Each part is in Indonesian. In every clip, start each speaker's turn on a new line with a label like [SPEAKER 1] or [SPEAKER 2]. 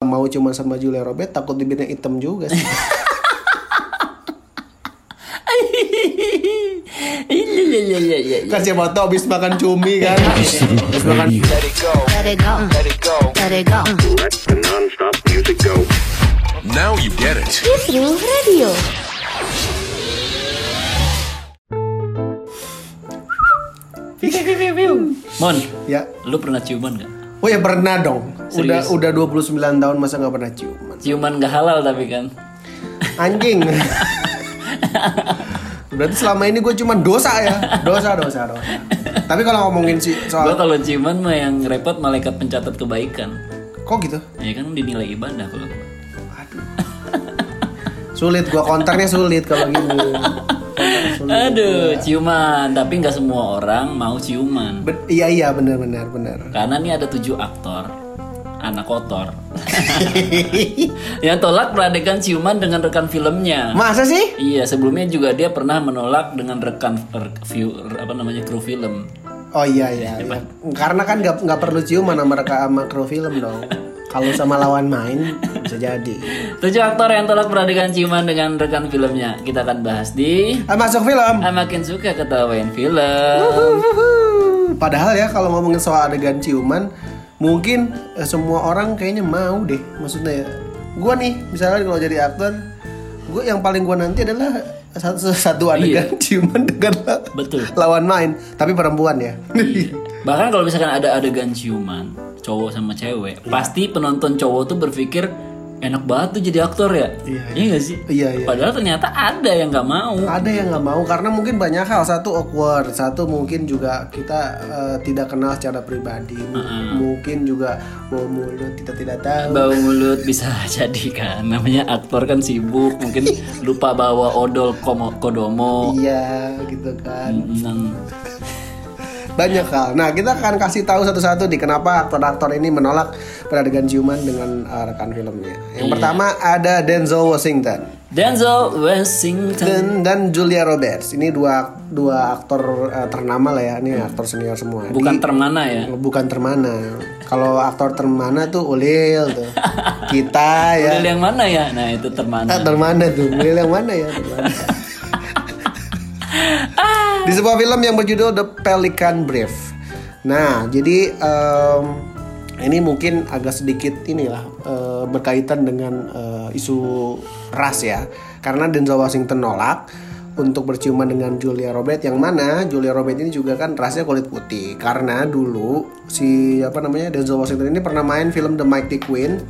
[SPEAKER 1] mau cuma sama Julia Robert takut bibirnya hitam juga sih.
[SPEAKER 2] Iya iya iya iya iya.
[SPEAKER 1] kan siapa tahu habis makan cumi kan. Habis makan
[SPEAKER 3] Let it go.
[SPEAKER 4] Let it go.
[SPEAKER 3] Let it go.
[SPEAKER 4] Let it go.
[SPEAKER 5] Let the non-stop music go.
[SPEAKER 6] Now you get it.
[SPEAKER 4] Review Radio.
[SPEAKER 2] Mon,
[SPEAKER 1] ya.
[SPEAKER 2] lu pernah ciuman nggak?
[SPEAKER 1] Oh ya pernah dong. Udah
[SPEAKER 2] Serius?
[SPEAKER 1] udah 29 tahun masa nggak pernah ciuman.
[SPEAKER 2] Ciuman nggak halal tapi kan.
[SPEAKER 1] Anjing. Berarti selama ini gue cuma dosa ya. Dosa dosa dosa. Tapi kalau ngomongin sih soal
[SPEAKER 2] Gua kalau ciuman mah yang repot malaikat pencatat kebaikan.
[SPEAKER 1] kok gitu?
[SPEAKER 2] Ya kan dinilai ibadah kalau gua.
[SPEAKER 1] Sulit gua konternya sulit kalau gitu. gini. Konternya sulit.
[SPEAKER 2] Aduh, ciuman. Tapi nggak semua orang mau ciuman.
[SPEAKER 1] Ben- iya iya benar benar benar.
[SPEAKER 2] Karena nih ada tujuh aktor anak kotor yang tolak peradegan ciuman dengan rekan filmnya.
[SPEAKER 1] Masa sih?
[SPEAKER 2] Iya, sebelumnya juga dia pernah menolak dengan rekan er, view apa namanya kru film.
[SPEAKER 1] Oh iya iya. iya. Karena kan nggak nggak perlu ciuman sama mereka sama kru film dong. Kalau sama lawan main bisa jadi.
[SPEAKER 2] Tujuh aktor yang tolak peradegan ciuman dengan rekan filmnya. Kita akan bahas di
[SPEAKER 1] Ah, masuk film.
[SPEAKER 2] Ah, makin suka ketawain film.
[SPEAKER 1] Wuhu. Padahal ya kalau ngomongin soal adegan ciuman, mungkin eh, semua orang kayaknya mau deh. Maksudnya ya, gua nih misalnya kalau jadi aktor, gua yang paling gua nanti adalah satu, satu adegan ciuman dengan la-
[SPEAKER 2] Betul.
[SPEAKER 1] lawan main, tapi perempuan ya.
[SPEAKER 2] Bahkan kalau misalkan ada adegan ciuman cowok sama cewek,
[SPEAKER 1] Iya.
[SPEAKER 2] pasti penonton cowok tuh berpikir enak banget tuh jadi aktor ya.
[SPEAKER 1] Iya, iya.
[SPEAKER 2] nggak sih?
[SPEAKER 1] Iya, iya.
[SPEAKER 2] Padahal ternyata ada yang nggak mau.
[SPEAKER 1] Ada yang nggak mau karena mungkin banyak hal. Satu awkward, satu mungkin juga kita eh, tidak kenal secara pribadi. M- Mungkin juga bau mulut kita tidak tahu.
[SPEAKER 2] Bau mulut bisa jadi kan namanya aktor kan sibuk mungkin lupa bawa odol komo- kodomo.
[SPEAKER 1] Iya, gitu kan.
[SPEAKER 2] Neng.
[SPEAKER 1] banyak hal. Nah kita akan kasih tahu satu-satu di kenapa aktor-aktor ini menolak peradegan ciuman dengan uh, rekan filmnya. Yang pertama ada Denzel Washington
[SPEAKER 2] Denzel Washington.
[SPEAKER 1] dan, dan Julia Roberts. Ini dua dua aktor uh, ternama lah ya. Ini aktor senior semua.
[SPEAKER 2] Bukan
[SPEAKER 1] Di-
[SPEAKER 2] termana ya.
[SPEAKER 1] bukan termana. Kalau aktor termana tuh Ulil tuh. Kita ya.
[SPEAKER 2] Model yang mana ya? Nah itu termana.
[SPEAKER 1] Ah, termana tuh? Ulil yang mana ya? Termana. di sebuah film yang berjudul The Pelican Brief. Nah, jadi em, ini mungkin agak sedikit inilah eh, berkaitan dengan eh, isu ras ya, karena Denzel Washington nolak untuk berciuman dengan Julia Robert yang mana Julia Robert ini juga kan rasnya kulit putih karena dulu si apa namanya Denzel Washington ini pernah main film The Mighty Queen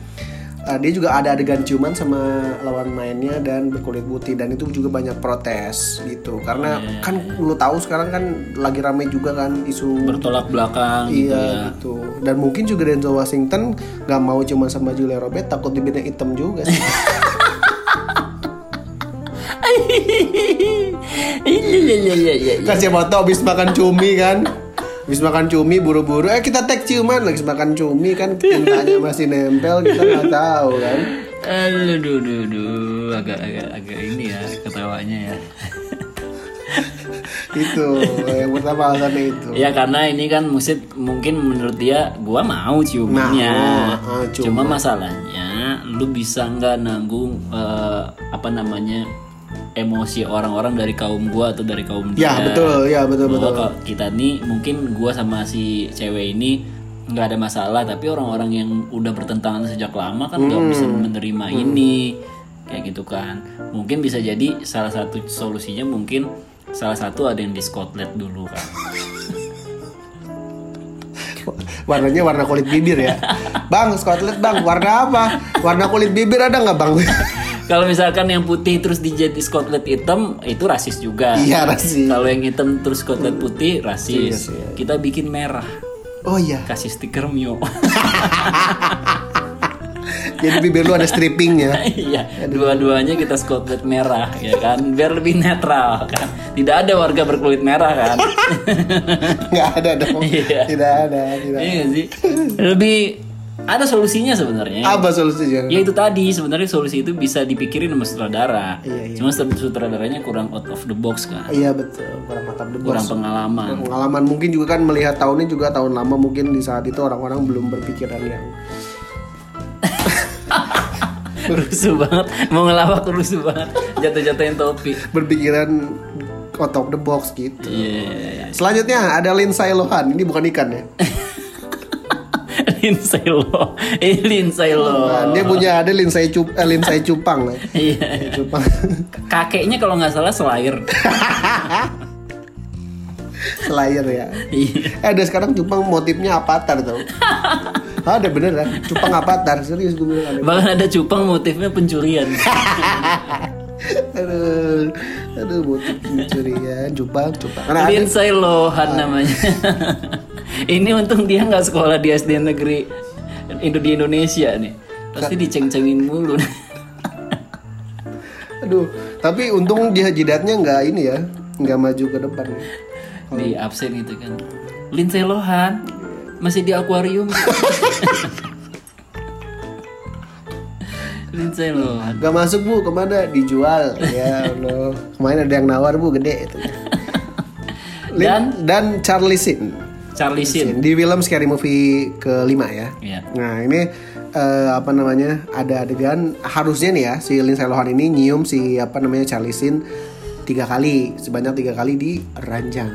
[SPEAKER 1] Uh, dia juga ada adegan ciuman sama lawan mainnya dan berkulit putih dan itu juga banyak protes gitu karena kan lu tahu sekarang kan lagi rame juga kan isu
[SPEAKER 2] Bertolak belakang gitu ya.
[SPEAKER 1] iya gitu dan mungkin juga Denzel Washington nggak mau cuma sama Julia Robert takut bibirnya hitam juga sih
[SPEAKER 2] Iya iya iya iya iya.
[SPEAKER 1] kan siapa tahu habis makan cumi kan habis makan cumi buru-buru eh kita tag ciuman lagi makan cumi kan cintanya masih nempel kita nggak tahu kan
[SPEAKER 2] Aduh, duh, duh, duh. agak agak agak ini ya ketawanya ya.
[SPEAKER 1] itu yang pertama alasannya itu
[SPEAKER 2] ya karena ini kan musik mungkin menurut dia gua mau ciumannya.
[SPEAKER 1] Mau, ah,
[SPEAKER 2] Cuma masalahnya lu bisa nggak nanggung eh, apa namanya emosi orang-orang dari kaum gua atau dari kaum dia.
[SPEAKER 1] ya betul ya betul
[SPEAKER 2] Bahwa
[SPEAKER 1] betul
[SPEAKER 2] Oh, kalau kita nih mungkin gua sama si cewek ini nggak ada masalah tapi orang-orang yang udah bertentangan sejak lama kan nggak bisa
[SPEAKER 1] Hmm.
[SPEAKER 2] menerima ini kayak gitu kan mungkin bisa jadi salah satu solusinya mungkin salah satu ada yang diskotlet dulu kan
[SPEAKER 1] warnanya warna kulit bibir ya bang skotlet bang warna apa warna kulit bibir ada nggak bang
[SPEAKER 2] kalau misalkan yang putih terus dijadi skotlet hitam itu rasis juga
[SPEAKER 1] Iya, rasis.
[SPEAKER 2] kalau yang hitam terus skotlet putih rasis
[SPEAKER 1] Iya, iya.
[SPEAKER 2] kita bikin merah
[SPEAKER 1] oh iya
[SPEAKER 2] kasih stiker mio
[SPEAKER 1] jadi bibir lu ada strippingnya
[SPEAKER 2] Iya, dua-duanya kita skotlet merah ya kan, biar lebih netral kan. Tidak ada warga berkulit merah kan.
[SPEAKER 1] nggak ada dong
[SPEAKER 2] Iya.
[SPEAKER 1] tidak ada tidak
[SPEAKER 2] Iya nggak sih. Lebih ada solusinya sebenarnya.
[SPEAKER 1] apa solusinya
[SPEAKER 2] Ya itu tadi sebenarnya solusi itu bisa dipikirin sama sutradara.
[SPEAKER 1] Iya, iya.
[SPEAKER 2] Cuma sutradaranya kurang out of the box kan.
[SPEAKER 1] iya betul kurang mata
[SPEAKER 2] Kurang
[SPEAKER 1] debos
[SPEAKER 2] pengalaman.
[SPEAKER 1] pengalaman mungkin juga kan melihat tahunnya juga tahun lama mungkin di saat itu orang-orang belum berpikiran yang
[SPEAKER 2] rusuh banget mau ngelawak rusuh banget jatuh-jatuhin topi
[SPEAKER 1] berpikiran out of the box gitu.
[SPEAKER 2] iya
[SPEAKER 1] Selanjutnya ada Lindsay Lohan. Ini bukan ikan ya.
[SPEAKER 2] Lindsay Lohan eh
[SPEAKER 1] Nah,
[SPEAKER 2] Lindsay Lohan
[SPEAKER 1] dia punya ada Lindsay Cup eh, Lindsay Cupang. ya.
[SPEAKER 2] iya
[SPEAKER 1] Lindsay Cupang.
[SPEAKER 2] kakeknya kalau nggak salah Slayer
[SPEAKER 1] Slayer ya.
[SPEAKER 2] iya
[SPEAKER 1] Eh ada sekarang Cupang motifnya avatar tau. ada beneran. Cupang avatar serius gue bilang ada.
[SPEAKER 2] bahkan ada cupang motifnya pencurian
[SPEAKER 1] Aduh, aduh motif ya. curian, Cupang, Cupang. Karena ada
[SPEAKER 2] Lindsay Lohan namanya ini untung dia nggak sekolah di SD negeri Indo di Indonesia nih pasti diceng-cengin mulu
[SPEAKER 1] Oh. Aduh, tapi untung dia jidatnya nggak ini ya, nggak maju ke depan.
[SPEAKER 2] di absen gitu kan Lindsay Lohan masih di akuarium Lindsay Lohan
[SPEAKER 1] Gak masuk bu, kemana? Dijual. Ya Allah. Kemarin ada yang nawar bu, gede itu. Lin-
[SPEAKER 2] Dan?
[SPEAKER 1] dan Charlie Sheen.
[SPEAKER 2] Charlie Sheen
[SPEAKER 1] Di film Scary Movie kelima ya.
[SPEAKER 2] Iya.
[SPEAKER 1] Nah ini eh, apa namanya ada adegan harusnya nih ya si Lindsay Lohan ini nyium si apa namanya Charlie Sheen tiga kali sebanyak tiga kali di ranjang.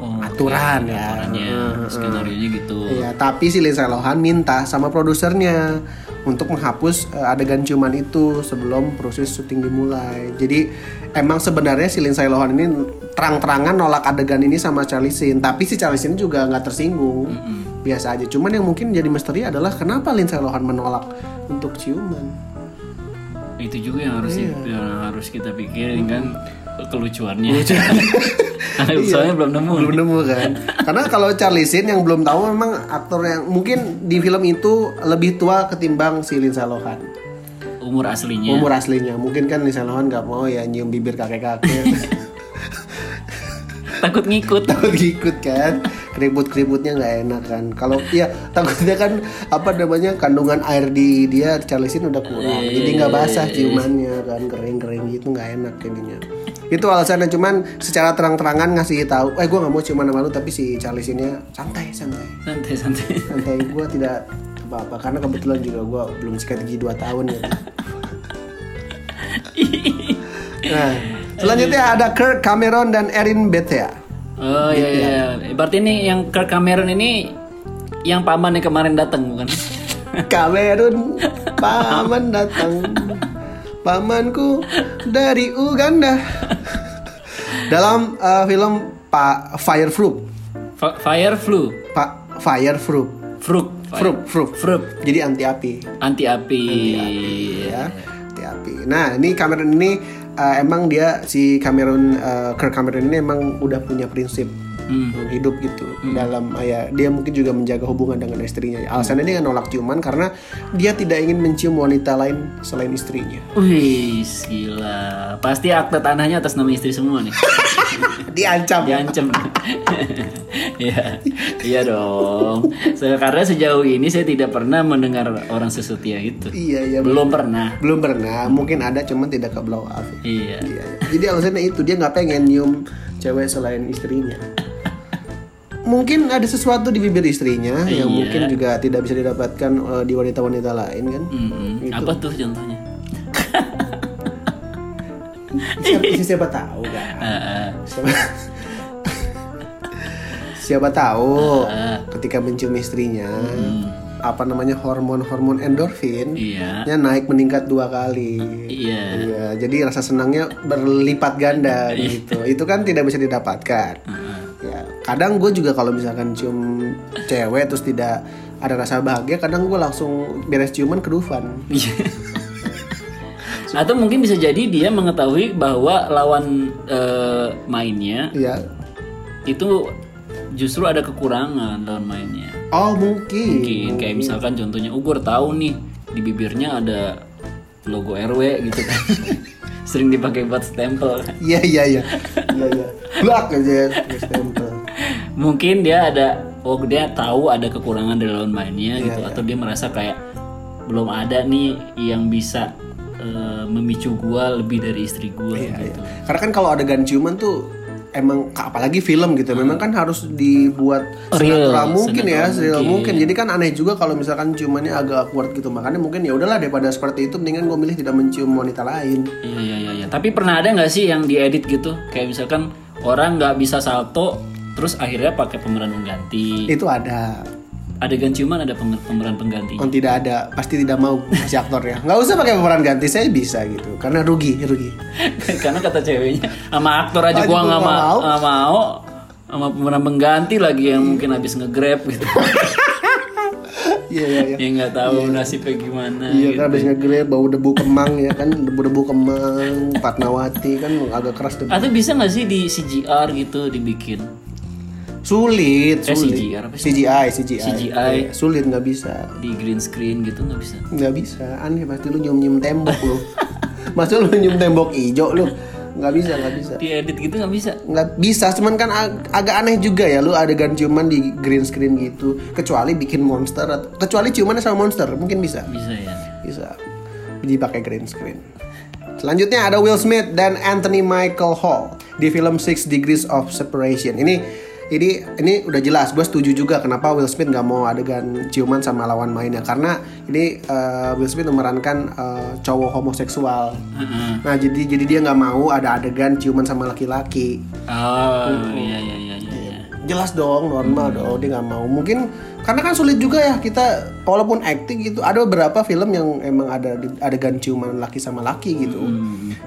[SPEAKER 2] Oh,
[SPEAKER 1] Aturan
[SPEAKER 2] oke,
[SPEAKER 1] ya.
[SPEAKER 2] aturannya skenario nya gitu
[SPEAKER 1] Iya, tapi si Lindsay Lohan minta sama produsernya untuk menghapus eh, adegan ciuman itu sebelum proses syuting dimulai. Jadi emang sebenarnya si Lindsay Lohan ini terang-terangan nolak adegan ini sama Charlie Sheen, tapi si Charlie Sheen juga nggak tersinggung. Biasa aja. Cuman yang mungkin jadi misteri adalah kenapa Lindsay Lohan menolak untuk ciuman.
[SPEAKER 2] itu juga yang harus yang harus kita pikirin kan kelucuannya karena soalnya belum nemu
[SPEAKER 1] Belum nemu kan? Karena kalau Charlie Sheen yang belum tahu memang aktor yang mungkin di film itu lebih tua ketimbang si Lindsay Lohan.
[SPEAKER 2] umur aslinya
[SPEAKER 1] umur aslinya mungkin kan Lindsay Lohan nggak mau ya nyium bibir kakek kakek
[SPEAKER 2] takut ngikut
[SPEAKER 1] takut ikut kan keriput keriputnya nggak enak kan kalau ya takutnya kan apa namanya kandungan air di dia Charlie Sheen udah kurang jadi nggak basah ciumannya kan kering kering gitu nggak enak jadinya itu alasannya cuman secara terang-terangan ngasih tahu eh gue nggak mau ciuman sama lu tapi si Charlie Sheennya santai santai
[SPEAKER 2] santai santai
[SPEAKER 1] santai gue tidak apa-apa karena kebetulan juga gue belum sikat gigi 2 tahun gitu. nah, selanjutnya ada Kirk Cameron dan Erin Bethea.
[SPEAKER 2] oh iya iya iya. berarti ini yang Kirk Cameron ini yang paman yang kemarin datang bukan
[SPEAKER 1] Cameron paman datang. Pamanku dari Uganda. Dalam eh, film Pak Fireproof,
[SPEAKER 2] Fa- Fire flu
[SPEAKER 1] Pak Fireproof,
[SPEAKER 2] Fruk
[SPEAKER 1] Frup, Frup,
[SPEAKER 2] Frup
[SPEAKER 1] jadi anti api.
[SPEAKER 2] Anti api
[SPEAKER 1] ya hati api. Nah ini Cameron ini uh, emang dia si Cameron uh, Kirk Cameron ini emang udah punya prinsip hidup gitu dalam uh, ya dia mungkin juga menjaga hubungan dengan istrinya. Alasannya dia nolak ciuman karena dia tidak ingin mencium wanita lain selain istrinya.
[SPEAKER 2] Wih gila Pasti akte tanahnya atas nama istri semua nih
[SPEAKER 1] Diancam.
[SPEAKER 2] Diancam Iya Iya dong Se- Karena sejauh ini saya tidak pernah mendengar orang sesetia itu
[SPEAKER 1] Iya iya belum
[SPEAKER 2] Belum pernah
[SPEAKER 1] belum pernah mungkin ada cuman tidak ke blow up.
[SPEAKER 2] Iya
[SPEAKER 1] Iya. Jadi alasannya itu dia nggak pengen nyium cewek selain istrinya. Mungkin ada sesuatu di bibir istrinya yang
[SPEAKER 2] Iya.
[SPEAKER 1] mungkin juga tidak bisa didapatkan eh, di wanita-wanita lain kan.
[SPEAKER 2] Mm-mm.
[SPEAKER 1] Gitu.
[SPEAKER 2] Apa tuh contohnya?
[SPEAKER 1] Siapa, siapa tahu kan?
[SPEAKER 2] Ah,
[SPEAKER 1] Siapa, siapa tahu ketika mencium istrinya apa namanya hormon-hormon endorfin
[SPEAKER 2] Iya
[SPEAKER 1] nya naik meningkat dua kali.
[SPEAKER 2] Iya
[SPEAKER 1] Iya, jadi rasa senangnya berlipat ganda gitu. Itu kan tidak bisa didapatkan. Ya, kadang gue juga kalau misalkan cium cewek terus tidak ada rasa bahagia, kadang gue langsung beres ciuman kedufan.
[SPEAKER 2] Iya. Atau mungkin bisa jadi dia mengetahui bahwa lawan eh, mainnya
[SPEAKER 1] Iya.
[SPEAKER 2] itu justru ada kekurangan lawan mainnya.
[SPEAKER 1] Oh mungkin.
[SPEAKER 2] Mungkin kayak misalkan contohnya ukur tahu nih di bibirnya ada logo RW gitu kan. Sering dipakai buat stempel.
[SPEAKER 1] Iya iya iya. Iya iya. Blak aja terus tempel.
[SPEAKER 2] Mungkin dia ada oh dia tahu ada kekurangan dari lawan mainnya gitu atau dia merasa kayak belum ada nih yang bisa eh, memicu gua lebih dari istri gua gitu.
[SPEAKER 1] Iya, Karena kan kalau adegan ciuman tuh emang apalagi film gitu memang kan harus dibuat
[SPEAKER 2] Real,
[SPEAKER 1] senatural mungkin ya
[SPEAKER 2] senatural
[SPEAKER 1] real
[SPEAKER 2] mungkin.
[SPEAKER 1] Oh, mungkin jadi kan aneh juga kalau misalkan ciumannya agak awkward gitu makanya mungkin ya udahlah daripada seperti itu mendingan gue milih tidak mencium wanita lain
[SPEAKER 2] Iya iya iya. iya. Tapi pernah ada nggak sih yang diedit gitu? Kayak misalkan orang nggak bisa salto, terus akhirnya pakai pemeran pengganti.
[SPEAKER 1] itu ada
[SPEAKER 2] Adegan ciuman ada pemer- pemeran pengganti.
[SPEAKER 1] kalau tidak ada pasti tidak mau si aktornya nggak usah pakai pemeran ganti saya bisa gitu karena rugi rugi
[SPEAKER 2] Karena kata ceweknya sama aktor
[SPEAKER 1] Aja
[SPEAKER 2] aja
[SPEAKER 1] gua
[SPEAKER 2] gua nggak
[SPEAKER 1] nggak
[SPEAKER 2] mau,
[SPEAKER 1] mau.
[SPEAKER 2] nggak mau sama pemeran pengganti lagi yang mungkin habis ngegrab gitu.
[SPEAKER 1] iya iya iya
[SPEAKER 2] yang nggak tahu nasibnya gimana.
[SPEAKER 1] Iya
[SPEAKER 2] gitu.
[SPEAKER 1] kan habis ngegre bau debu kemang ya kan debu-debu kemang Patnawati kan agak keras debu.
[SPEAKER 2] Atau bisa nggak sih di CGR gitu dibikin?
[SPEAKER 1] Sulit,
[SPEAKER 2] Eh,
[SPEAKER 1] sulit.
[SPEAKER 2] CGI, apa sih?
[SPEAKER 1] CGI, CGI.
[SPEAKER 2] CGI.
[SPEAKER 1] Iya, sulit nggak bisa.
[SPEAKER 2] Di green screen gitu nggak bisa.
[SPEAKER 1] Nggak bisa. Aneh pasti lu nyium-nyium tembok lu. Masa lu nyium tembok ijo lu? Nggak bisa, nggak bisa.
[SPEAKER 2] Diedit gitu nggak bisa.
[SPEAKER 1] Nggak bisa, cuman kan ag- agak aneh juga ya lu adegan ciuman di green screen gitu. Kecuali bikin monster, at- kecuali ciumannya sama monster, mungkin bisa.
[SPEAKER 2] Bisa ya.
[SPEAKER 1] bisa dipakai green screen. Selanjutnya ada Will Smith dan Anthony Michael Hall di film Six Degrees of Separation. Ini ini ini udah jelas, gue setuju juga kenapa Will Smith nggak mau adegan ciuman sama lawan mainnya karena ini eh, Will Smith memerankan eh, cowok homoseksual. Nah jadi jadi dia nggak mau ada adegan ciuman sama laki-laki.
[SPEAKER 2] Oh iya iya iya iya. iya.
[SPEAKER 1] Jelas dong normal dong dia nggak mau. Mungkin karena kan sulit juga ya kita walaupun acting gitu ada beberapa film yang emang ada adegan ciuman laki sama laki gitu.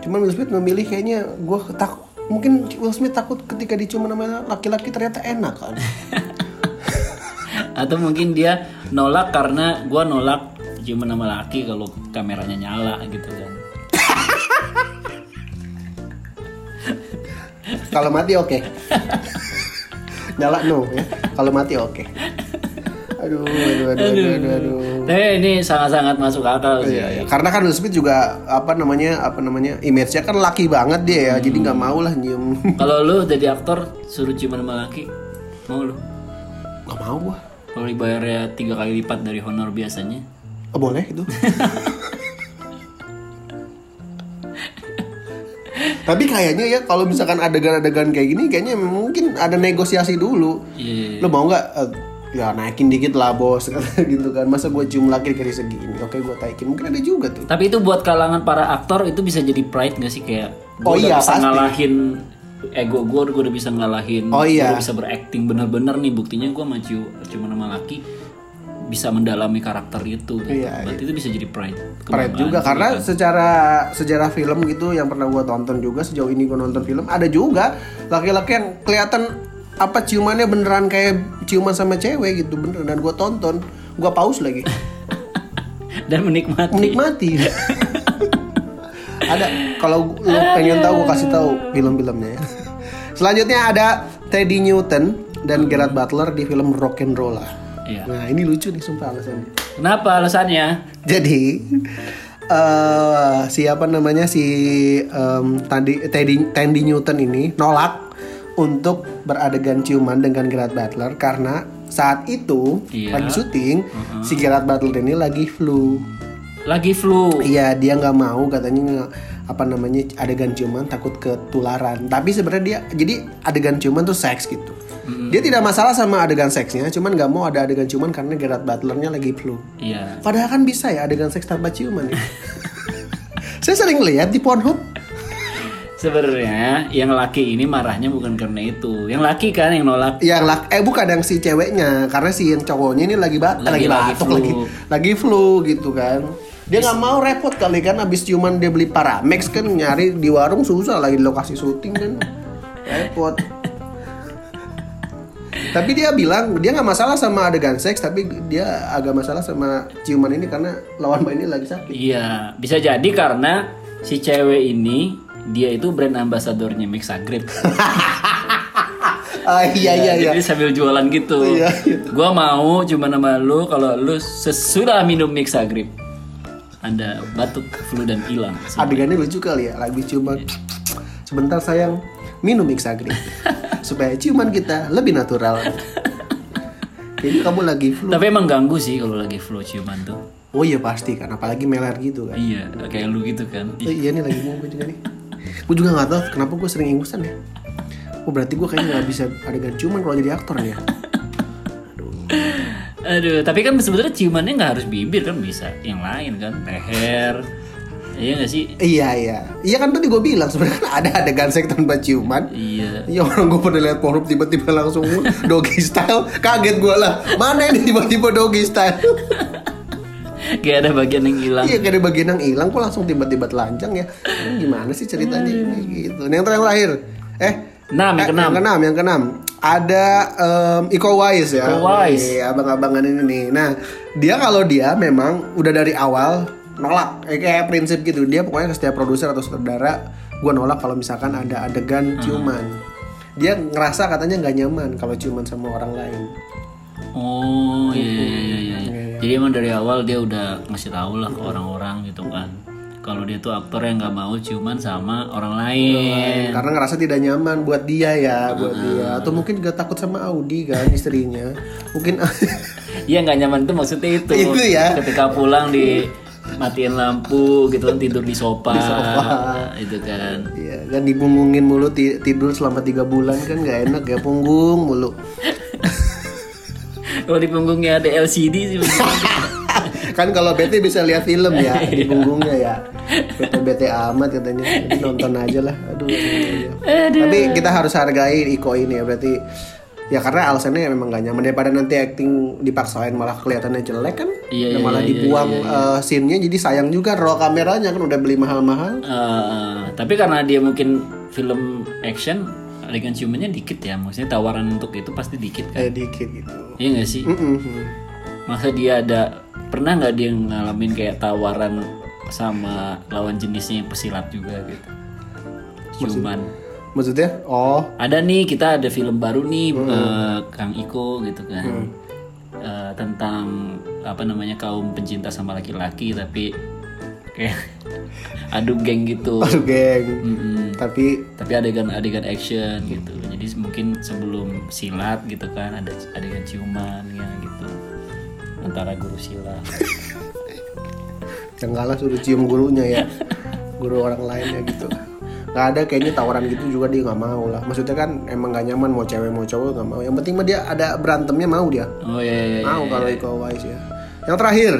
[SPEAKER 1] Cuman Will Smith memilih kayaknya gue takut mungkin Will Smith takut ketika dicium sama laki-laki ternyata enak kan.
[SPEAKER 2] Atau mungkin dia nolak karena gua nolak ciuman sama laki kalau kameranya nyala gitu kan.
[SPEAKER 1] Kalau mati oke. Nyala no ya. Kalau mati oke. Aduh, aduh, aduh, aduh, aduh, aduh.
[SPEAKER 2] Eh ini sangat-sangat masuk akal
[SPEAKER 1] Mm.
[SPEAKER 2] sih.
[SPEAKER 1] Iya, iya. Karena kan Will Smith juga apa namanya apa namanya image-nya kan laki banget dia ya, jadi nggak mau lah nyium
[SPEAKER 2] Kalau lu jadi aktor suruh ciuman sama laki, mau lu?
[SPEAKER 1] Gak mau gua.
[SPEAKER 2] Kalau dibayarnya tiga kali lipat dari honor biasanya.
[SPEAKER 1] Oh, boleh itu. Tapi kayaknya ya kalau misalkan adegan-adegan kayak gini kayaknya mungkin ada negosiasi dulu.
[SPEAKER 2] Iya.
[SPEAKER 1] Lo mau nggak eh, ya naikin dikit lah bos kata gitu kan. Masa gue cium laki dari segini. Oke gue taikin. Mungkin ada juga tuh.
[SPEAKER 2] Tapi itu buat kalangan para aktor itu bisa jadi pride gak sih kayak gua
[SPEAKER 1] Oh
[SPEAKER 2] udah
[SPEAKER 1] iya,
[SPEAKER 2] bisa
[SPEAKER 1] pasti.
[SPEAKER 2] ngalahin ego gue, gue udah bisa ngalahin,
[SPEAKER 1] Oh iya.
[SPEAKER 2] gue udah bisa berakting bener-bener nih buktinya gue maju cuma nama laki bisa mendalami karakter itu. gitu.
[SPEAKER 1] Iya,
[SPEAKER 2] Berarti itu bisa jadi pride.
[SPEAKER 1] Pride
[SPEAKER 2] Kebanggaan
[SPEAKER 1] juga
[SPEAKER 2] sih,
[SPEAKER 1] karena
[SPEAKER 2] kan.
[SPEAKER 1] secara sejarah film gitu yang pernah gue tonton juga sejauh ini gue nonton film ada juga laki-laki yang kelihatan apa ciumannya beneran kayak ciuman sama cewek gitu bener dan gue tonton gue pause lagi
[SPEAKER 2] dan menikmati.
[SPEAKER 1] menikmati ada kalau lo pengen tahu gue kasih tahu film-filmnya ya. selanjutnya ada Teddy Newton dan Gerard Butler di film Rock and Roller
[SPEAKER 2] Iya.
[SPEAKER 1] nah ini lucu nih sumpah alasannya
[SPEAKER 2] Kenapa alasannya?
[SPEAKER 1] jadi eh siapa namanya si em, tadi Teddy, Teddy Newton ini nolak untuk beradegan ciuman dengan Gerard Butler karena saat itu
[SPEAKER 2] Iya.
[SPEAKER 1] lagi syuting si Gerard Butler ini lagi flu.
[SPEAKER 2] Lagi flu.
[SPEAKER 1] Iya dia nggak mau katanya nggak- apa namanya adegan ciuman takut ketularan. Tapi sebenarnya dia jadi adegan ciuman tuh seks gitu. Dia tidak masalah sama adegan seksnya, cuman nggak mau ada adegan ciuman karena Gerard Butlernya lagi flu.
[SPEAKER 2] Iya.
[SPEAKER 1] Padahal kan bisa ya adegan seks tanpa ciuman ya. Saya sering lihat di Pornhub.
[SPEAKER 2] Sebenarnya yang laki ini marahnya bukan karena itu. Yang laki kan yang nolak.
[SPEAKER 1] Yang lak eh bukan yang si ceweknya karena si yang cowoknya ini lagi bat
[SPEAKER 2] Lagi-
[SPEAKER 1] lagi,
[SPEAKER 2] lagi
[SPEAKER 1] batuk
[SPEAKER 2] flu.
[SPEAKER 1] lagi lagi flu gitu kan. Dia nggak mau repot kali kan abis ciuman dia beli Paramex kan nyari di warung susah lagi di lokasi syuting kan repot. tapi dia bilang dia nggak masalah sama adegan seks tapi dia agak masalah sama ciuman ini karena lawan mainnya lagi sakit.
[SPEAKER 2] Iya, bisa jadi karena si cewek ini dia itu brand ambasadornya Mixagrip.
[SPEAKER 1] Ah iya iya iya.
[SPEAKER 2] Jadi sambil jualan gitu.
[SPEAKER 1] Iya,
[SPEAKER 2] Gua mau cuma nama lu kalau lu sesudah minum Mixagrip. Anda batuk, flu dan hilang.
[SPEAKER 1] adegannya lucu kali ya lagi ciuman sebentar sayang minum mixagri supaya ciuman kita lebih natural jadi kamu lagi flu
[SPEAKER 2] Tapi emang ganggu sih kalau lagi flu ciuman tuh.
[SPEAKER 1] oh iya pasti kan apalagi meler gitu kan Oh iya
[SPEAKER 2] Iya, kayak lu gitu kan.
[SPEAKER 1] Eh, iya nih lagi mau gue juga nih gue juga nggak tahu kenapa gue sering ingusan ya oh berarti gue kayaknya nggak bisa adegan ciuman kalau jadi aktor ya
[SPEAKER 2] Aduh, tapi kan sebenarnya ciumannya nggak harus bibir kan bisa yang lain kan, leher. Iya nggak sih?
[SPEAKER 1] iya iya iya kan tadi gue bilang sebenarnya kan ada adegan seks tanpa ciuman
[SPEAKER 2] Iya.
[SPEAKER 1] Ya orang gue pernah lihat porno tiba-tiba langsung doggy style Kaget gue lah Mana ini tiba-tiba doggy style
[SPEAKER 2] Kayak ada bagian yang hilang.
[SPEAKER 1] Iya kayak ada bagian yang hilang kok langsung tiba-tiba telanjang ya Ini Gimana sih ceritanya ini gitu Nah, Yang terakhir Eh
[SPEAKER 2] Enam, yang
[SPEAKER 1] eh,
[SPEAKER 2] keenam.
[SPEAKER 1] Yang keenam yang keenam. Ada em, Iko Uwais ya
[SPEAKER 2] Iko Uwais.
[SPEAKER 1] Oke, Abang-abangan ini nih Nah dia kalau dia memang udah dari awal nolak Eh, kayak prinsip gitu dia pokoknya setiap produser atau saudara gue nolak kalau misalkan ada
[SPEAKER 2] Hmm.
[SPEAKER 1] adegan ciuman dia ngerasa katanya nggak nyaman kalau ciuman sama orang lain
[SPEAKER 2] Oh iya iya iya. iya. Jadi emang dari awal dia udah ngasih tahu lah ke orang-orang gitu kan. Kalau dia tuh aktor yang nggak mau ciuman sama orang lain.
[SPEAKER 1] karena ngerasa tidak nyaman buat dia ya buat dia atau mungkin juga takut sama Audi kan istrinya mungkin
[SPEAKER 2] Iya nggak nyaman tuh maksudnya itu.
[SPEAKER 1] Itu ya.
[SPEAKER 2] Ketika pulang di matiin lampu gitu kan tidur di sofa, itu kan.
[SPEAKER 1] ya kan dipunggungin mulu ti- tidur selama tiga bulan kan nggak enak ya punggung mulu
[SPEAKER 2] Kalau di punggungnya ada LCD sih.
[SPEAKER 1] kan kalau bete bisa lihat film ya di
[SPEAKER 2] Iya.
[SPEAKER 1] punggungnya ya bete bete amat katanya Jadi nonton aja lah aduh, aduh, aduh. tapi kita harus hargai Iko ini ya berarti ya karena alasannya memang gak nyaman daripada nanti acting dipaksain malah kelihatannya jelek kan
[SPEAKER 2] Iya,
[SPEAKER 1] Dan
[SPEAKER 2] iya,
[SPEAKER 1] malah
[SPEAKER 2] iya,
[SPEAKER 1] dibuang eh, scene-nya jadi sayang juga roll kameranya kan udah beli mahal-mahal
[SPEAKER 2] Eh, tapi karena dia mungkin film action adegan ciumannya dikit ya maksudnya tawaran untuk itu pasti dikit
[SPEAKER 1] eh
[SPEAKER 2] kan
[SPEAKER 1] dikit gitu
[SPEAKER 2] iya nggak sih masa dia ada pernah nggak dia ngalamin kayak tawaran sama lawan jenisnya yang pesilat juga gitu ciuman
[SPEAKER 1] maksudnya oh
[SPEAKER 2] ada nih kita ada film baru nih eh, Kang Iko gitu kan Eh, tentang apa namanya kaum pencinta sama laki-laki tapi kayak adu geng gitu
[SPEAKER 1] aduh geng tapi
[SPEAKER 2] tapi adegan-adegan action gitu jadi mungkin sebelum silat gitu kan ada adegan ciuman ya gitu antara guru silat
[SPEAKER 1] yang kalah suruh cium gurunya ya guru orang lainnya gitu nggak ada kayaknya tawaran gitu juga dia nggak mau lah maksudnya kan emang nggak nyaman mau cewek mau cowok nggak mau yang penting mah dia ada berantemnya mau dia
[SPEAKER 2] oh iya iya iya.
[SPEAKER 1] mau kalau Iko Uwais ya yang terakhir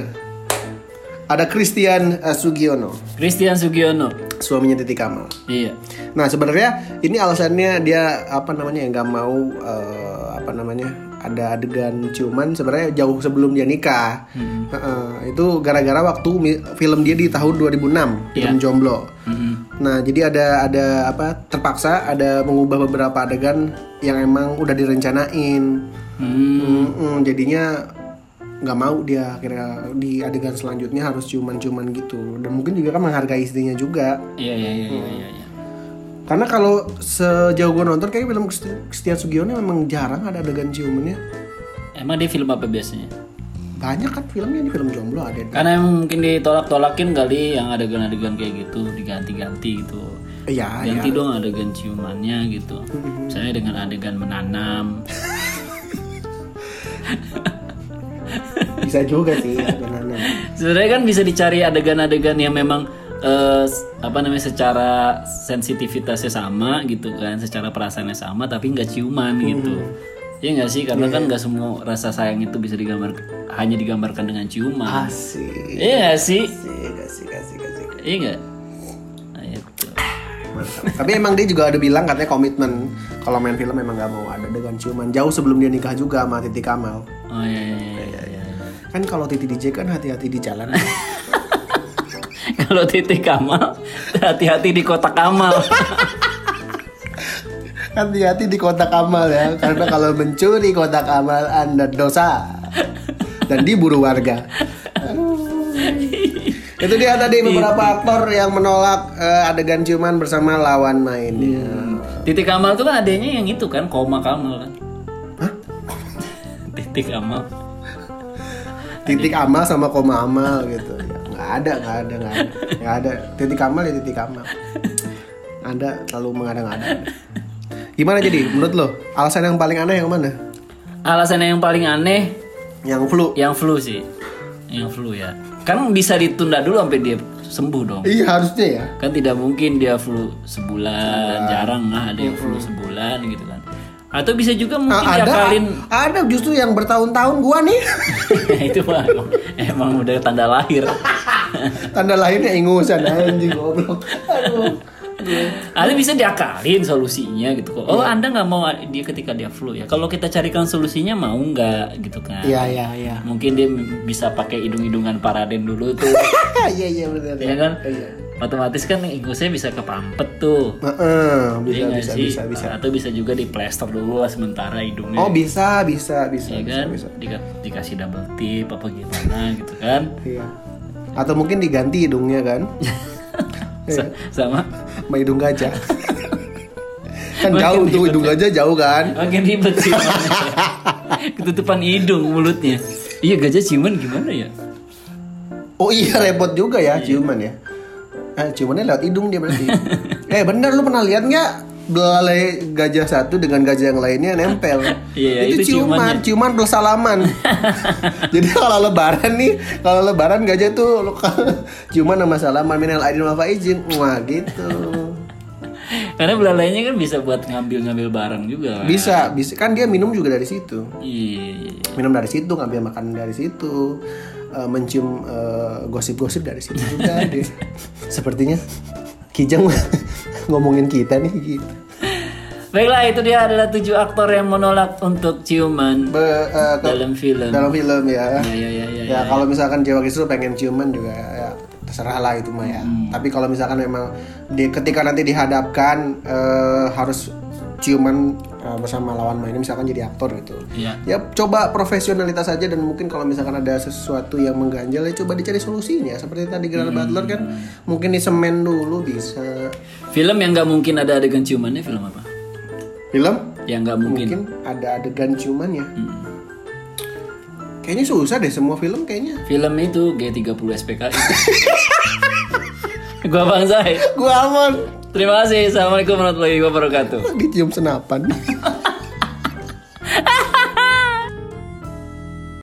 [SPEAKER 1] ada Christian eh, Sugiono
[SPEAKER 2] Christian Sugiono
[SPEAKER 1] suaminya Titi Kamal
[SPEAKER 2] iya
[SPEAKER 1] Nah sebenarnya ini alasannya dia apa namanya ya nggak mau eh, apa namanya ada adegan ciuman sebenarnya jauh sebelum dia nikah Heeh, itu gara-gara waktu mi- film dia di tahun 2006 film jomblo. Nah jadi ada ada apa terpaksa ada mengubah beberapa adegan yang emang udah direncanain.
[SPEAKER 2] Hmm.
[SPEAKER 1] Mm-mm, jadinya nggak mau dia akhirnya di adegan selanjutnya harus ciuman-ciuman gitu dan mungkin juga kan menghargai istrinya juga.
[SPEAKER 2] iya iya iya iya, iya, iya.
[SPEAKER 1] Karena kalau sejauh gue nonton kayaknya film Kristi- Christian Sugiono memang jarang ada adegan ciumannya.
[SPEAKER 2] emang dia film apa biasanya
[SPEAKER 1] Banyak kan filmnya di film jomblo ada.
[SPEAKER 2] karena emang mungkin ditolak-tolakin kali yang adegan-adegan kayak gitu diganti-ganti gitu
[SPEAKER 1] Iya, iya.
[SPEAKER 2] ganti dong adegan ciumannya gitu misalnya dengan adegan menanam
[SPEAKER 1] Bisa juga sih sebenarnya.
[SPEAKER 2] sebenarnya kan bisa dicari adegan-adegan yang memang eh, s- apa namanya secara sensitivitasnya sama gitu kan secara perasaannya sama tapi nggak ciuman gitu ya nggak sih karena kan nggak semua rasa sayang itu bisa digambar hanya digambarkan dengan
[SPEAKER 1] Ah,
[SPEAKER 2] ciuman
[SPEAKER 1] Asik.
[SPEAKER 2] iya nggak sih
[SPEAKER 1] Asik, asik, asik, asik.
[SPEAKER 2] iya nggak nah, itu
[SPEAKER 1] Mantap. Tapi emang dia juga ada bilang katanya komitmen kalau main film emang nggak mau ada adegan ciuman jauh sebelum dia nikah juga sama Titi Kamal.
[SPEAKER 2] oh iya iya iya, iya, iya.
[SPEAKER 1] Kan kalau Titi DJ kan hati-hati di jalan.
[SPEAKER 2] kalau titik kamal hati-hati di kotak kamal
[SPEAKER 1] Hati-hati di kotak amal ya, karena kalau mencuri kotak amal Anda dosa dan diburu warga. Aduh. Gitu. Itu dia tadi beberapa aktor yang menolak eh, adegan ciuman bersama lawan Ya. mainnya.
[SPEAKER 2] titik kamal tuh kan adanya yang itu kan koma kamal kan titik kamal
[SPEAKER 1] Titik amal sama koma amal gitu. Ya, nggak ada, nggak ada, nggak ada, nggak ada. Titik amal ya titik amal. Anda selalu mengada-ngada. Gimana jadi? Menurut lo, alasan yang paling aneh yang mana?
[SPEAKER 2] Alasannya yang paling aneh
[SPEAKER 1] Yang flu?
[SPEAKER 2] yang flu sih. yang flu ya kan bisa ditunda dulu sampai dia sembuh dong
[SPEAKER 1] Iya harusnya ya.
[SPEAKER 2] kan tidak mungkin dia flu sebulan jarang lah ada yang flu sebulan gitu kan atau bisa juga mungkin
[SPEAKER 1] A- Nah, Ah, ada
[SPEAKER 2] diakalin
[SPEAKER 1] ada justru yang bertahun-tahun gua nih
[SPEAKER 2] Ya, itu mah emang, emang udah tanda lahir
[SPEAKER 1] tanda lahirnya ingusan anjing goblok. Aduh.
[SPEAKER 2] ada bisa diakalin solusinya gitu kok oh anda nggak mau dia ketika dia flu ya kalau kita carikan solusinya mau nggak gitu kan
[SPEAKER 1] Iya iya iya.
[SPEAKER 2] mungkin dia bisa pakai hidung-hidungan paraden dulu tuh
[SPEAKER 1] Iya iya benar.
[SPEAKER 2] ya kan
[SPEAKER 1] Iya.
[SPEAKER 2] otomatis kan ingusnya bisa kepampet tuh
[SPEAKER 1] Heeh, bisa
[SPEAKER 2] Iya nggak
[SPEAKER 1] bisa
[SPEAKER 2] sih?
[SPEAKER 1] bisa bisa.
[SPEAKER 2] atau bisa juga di plaster dulu lah sementara hidungnya
[SPEAKER 1] Oh bisa bisa bisa
[SPEAKER 2] ya
[SPEAKER 1] bisa
[SPEAKER 2] kan
[SPEAKER 1] bisa.
[SPEAKER 2] Dika- dikasih double tip apa gimana gitu kan
[SPEAKER 1] Iya. Atau mungkin diganti hidungnya kan? Iya.
[SPEAKER 2] Sa- sama
[SPEAKER 1] Sama hidung gajah. kan
[SPEAKER 2] Makin
[SPEAKER 1] jauh tuh
[SPEAKER 2] ribet
[SPEAKER 1] hidung gajah jauh kan?
[SPEAKER 2] makin ribet sih ketutupan hidung mulutnya iya gajah ciuman gimana ya
[SPEAKER 1] Oh iya repot juga ya ciuman ya. Eh, ciumannya lewat hidung dia berarti. eh bener lu pernah lihat nggak belalai gajah satu dengan gajah yang lainnya nempel.
[SPEAKER 2] Iya,
[SPEAKER 1] itu,
[SPEAKER 2] itu
[SPEAKER 1] ciuman,
[SPEAKER 2] ciumannya.
[SPEAKER 1] ciuman plus salaman. Jadi kalau lebaran nih, kalau lebaran gajah tuh lu- ciuman sama salaman minal aidin wal faizin. Wah, gitu.
[SPEAKER 2] karena belalainya kan bisa buat ngambil-ngambil barang juga kan?
[SPEAKER 1] Bisa, bisa kan dia minum juga dari situ.
[SPEAKER 2] iya iya, iya.
[SPEAKER 1] minum dari situ ngambil makanan dari situ eh, mencium eh, gosip-gosip dari situ juga Di- sepertinya Kijang ngomongin kita nih gitu.
[SPEAKER 2] baiklah itu dia adalah tujuh aktor yang menolak untuk ciuman
[SPEAKER 1] Be- eh, ke-
[SPEAKER 2] dalam film
[SPEAKER 1] dalam film ya
[SPEAKER 2] ya ya ya ya,
[SPEAKER 1] ya kalau misalkan Jawa Kisru pengen ciuman juga ya terserah lah itu mah ya tapi kalau misalkan memang di, ketika nanti dihadapkan eh, harus ciuman eh, bersama lawan mainnya misalkan jadi aktor gitu
[SPEAKER 2] Iya.
[SPEAKER 1] ya coba profesionalitas aja dan mungkin kalau misalkan ada sesuatu yang mengganjal ya coba dicari solusinya seperti tadi Gerard Butler kan mungkin disemen dulu bisa
[SPEAKER 2] film yang nggak mungkin ada adegan ciumannya film apa
[SPEAKER 1] film
[SPEAKER 2] yang nggak
[SPEAKER 1] mungkin
[SPEAKER 2] mungkin,
[SPEAKER 1] ada adegan ciumannya kayaknya susah deh semua film kayaknya
[SPEAKER 2] film itu G30 SPKI gua Bang Zahid
[SPEAKER 1] gua aman
[SPEAKER 2] terima kasih assalamualaikum warahmatullahi wabarakatuh
[SPEAKER 1] dicium senapan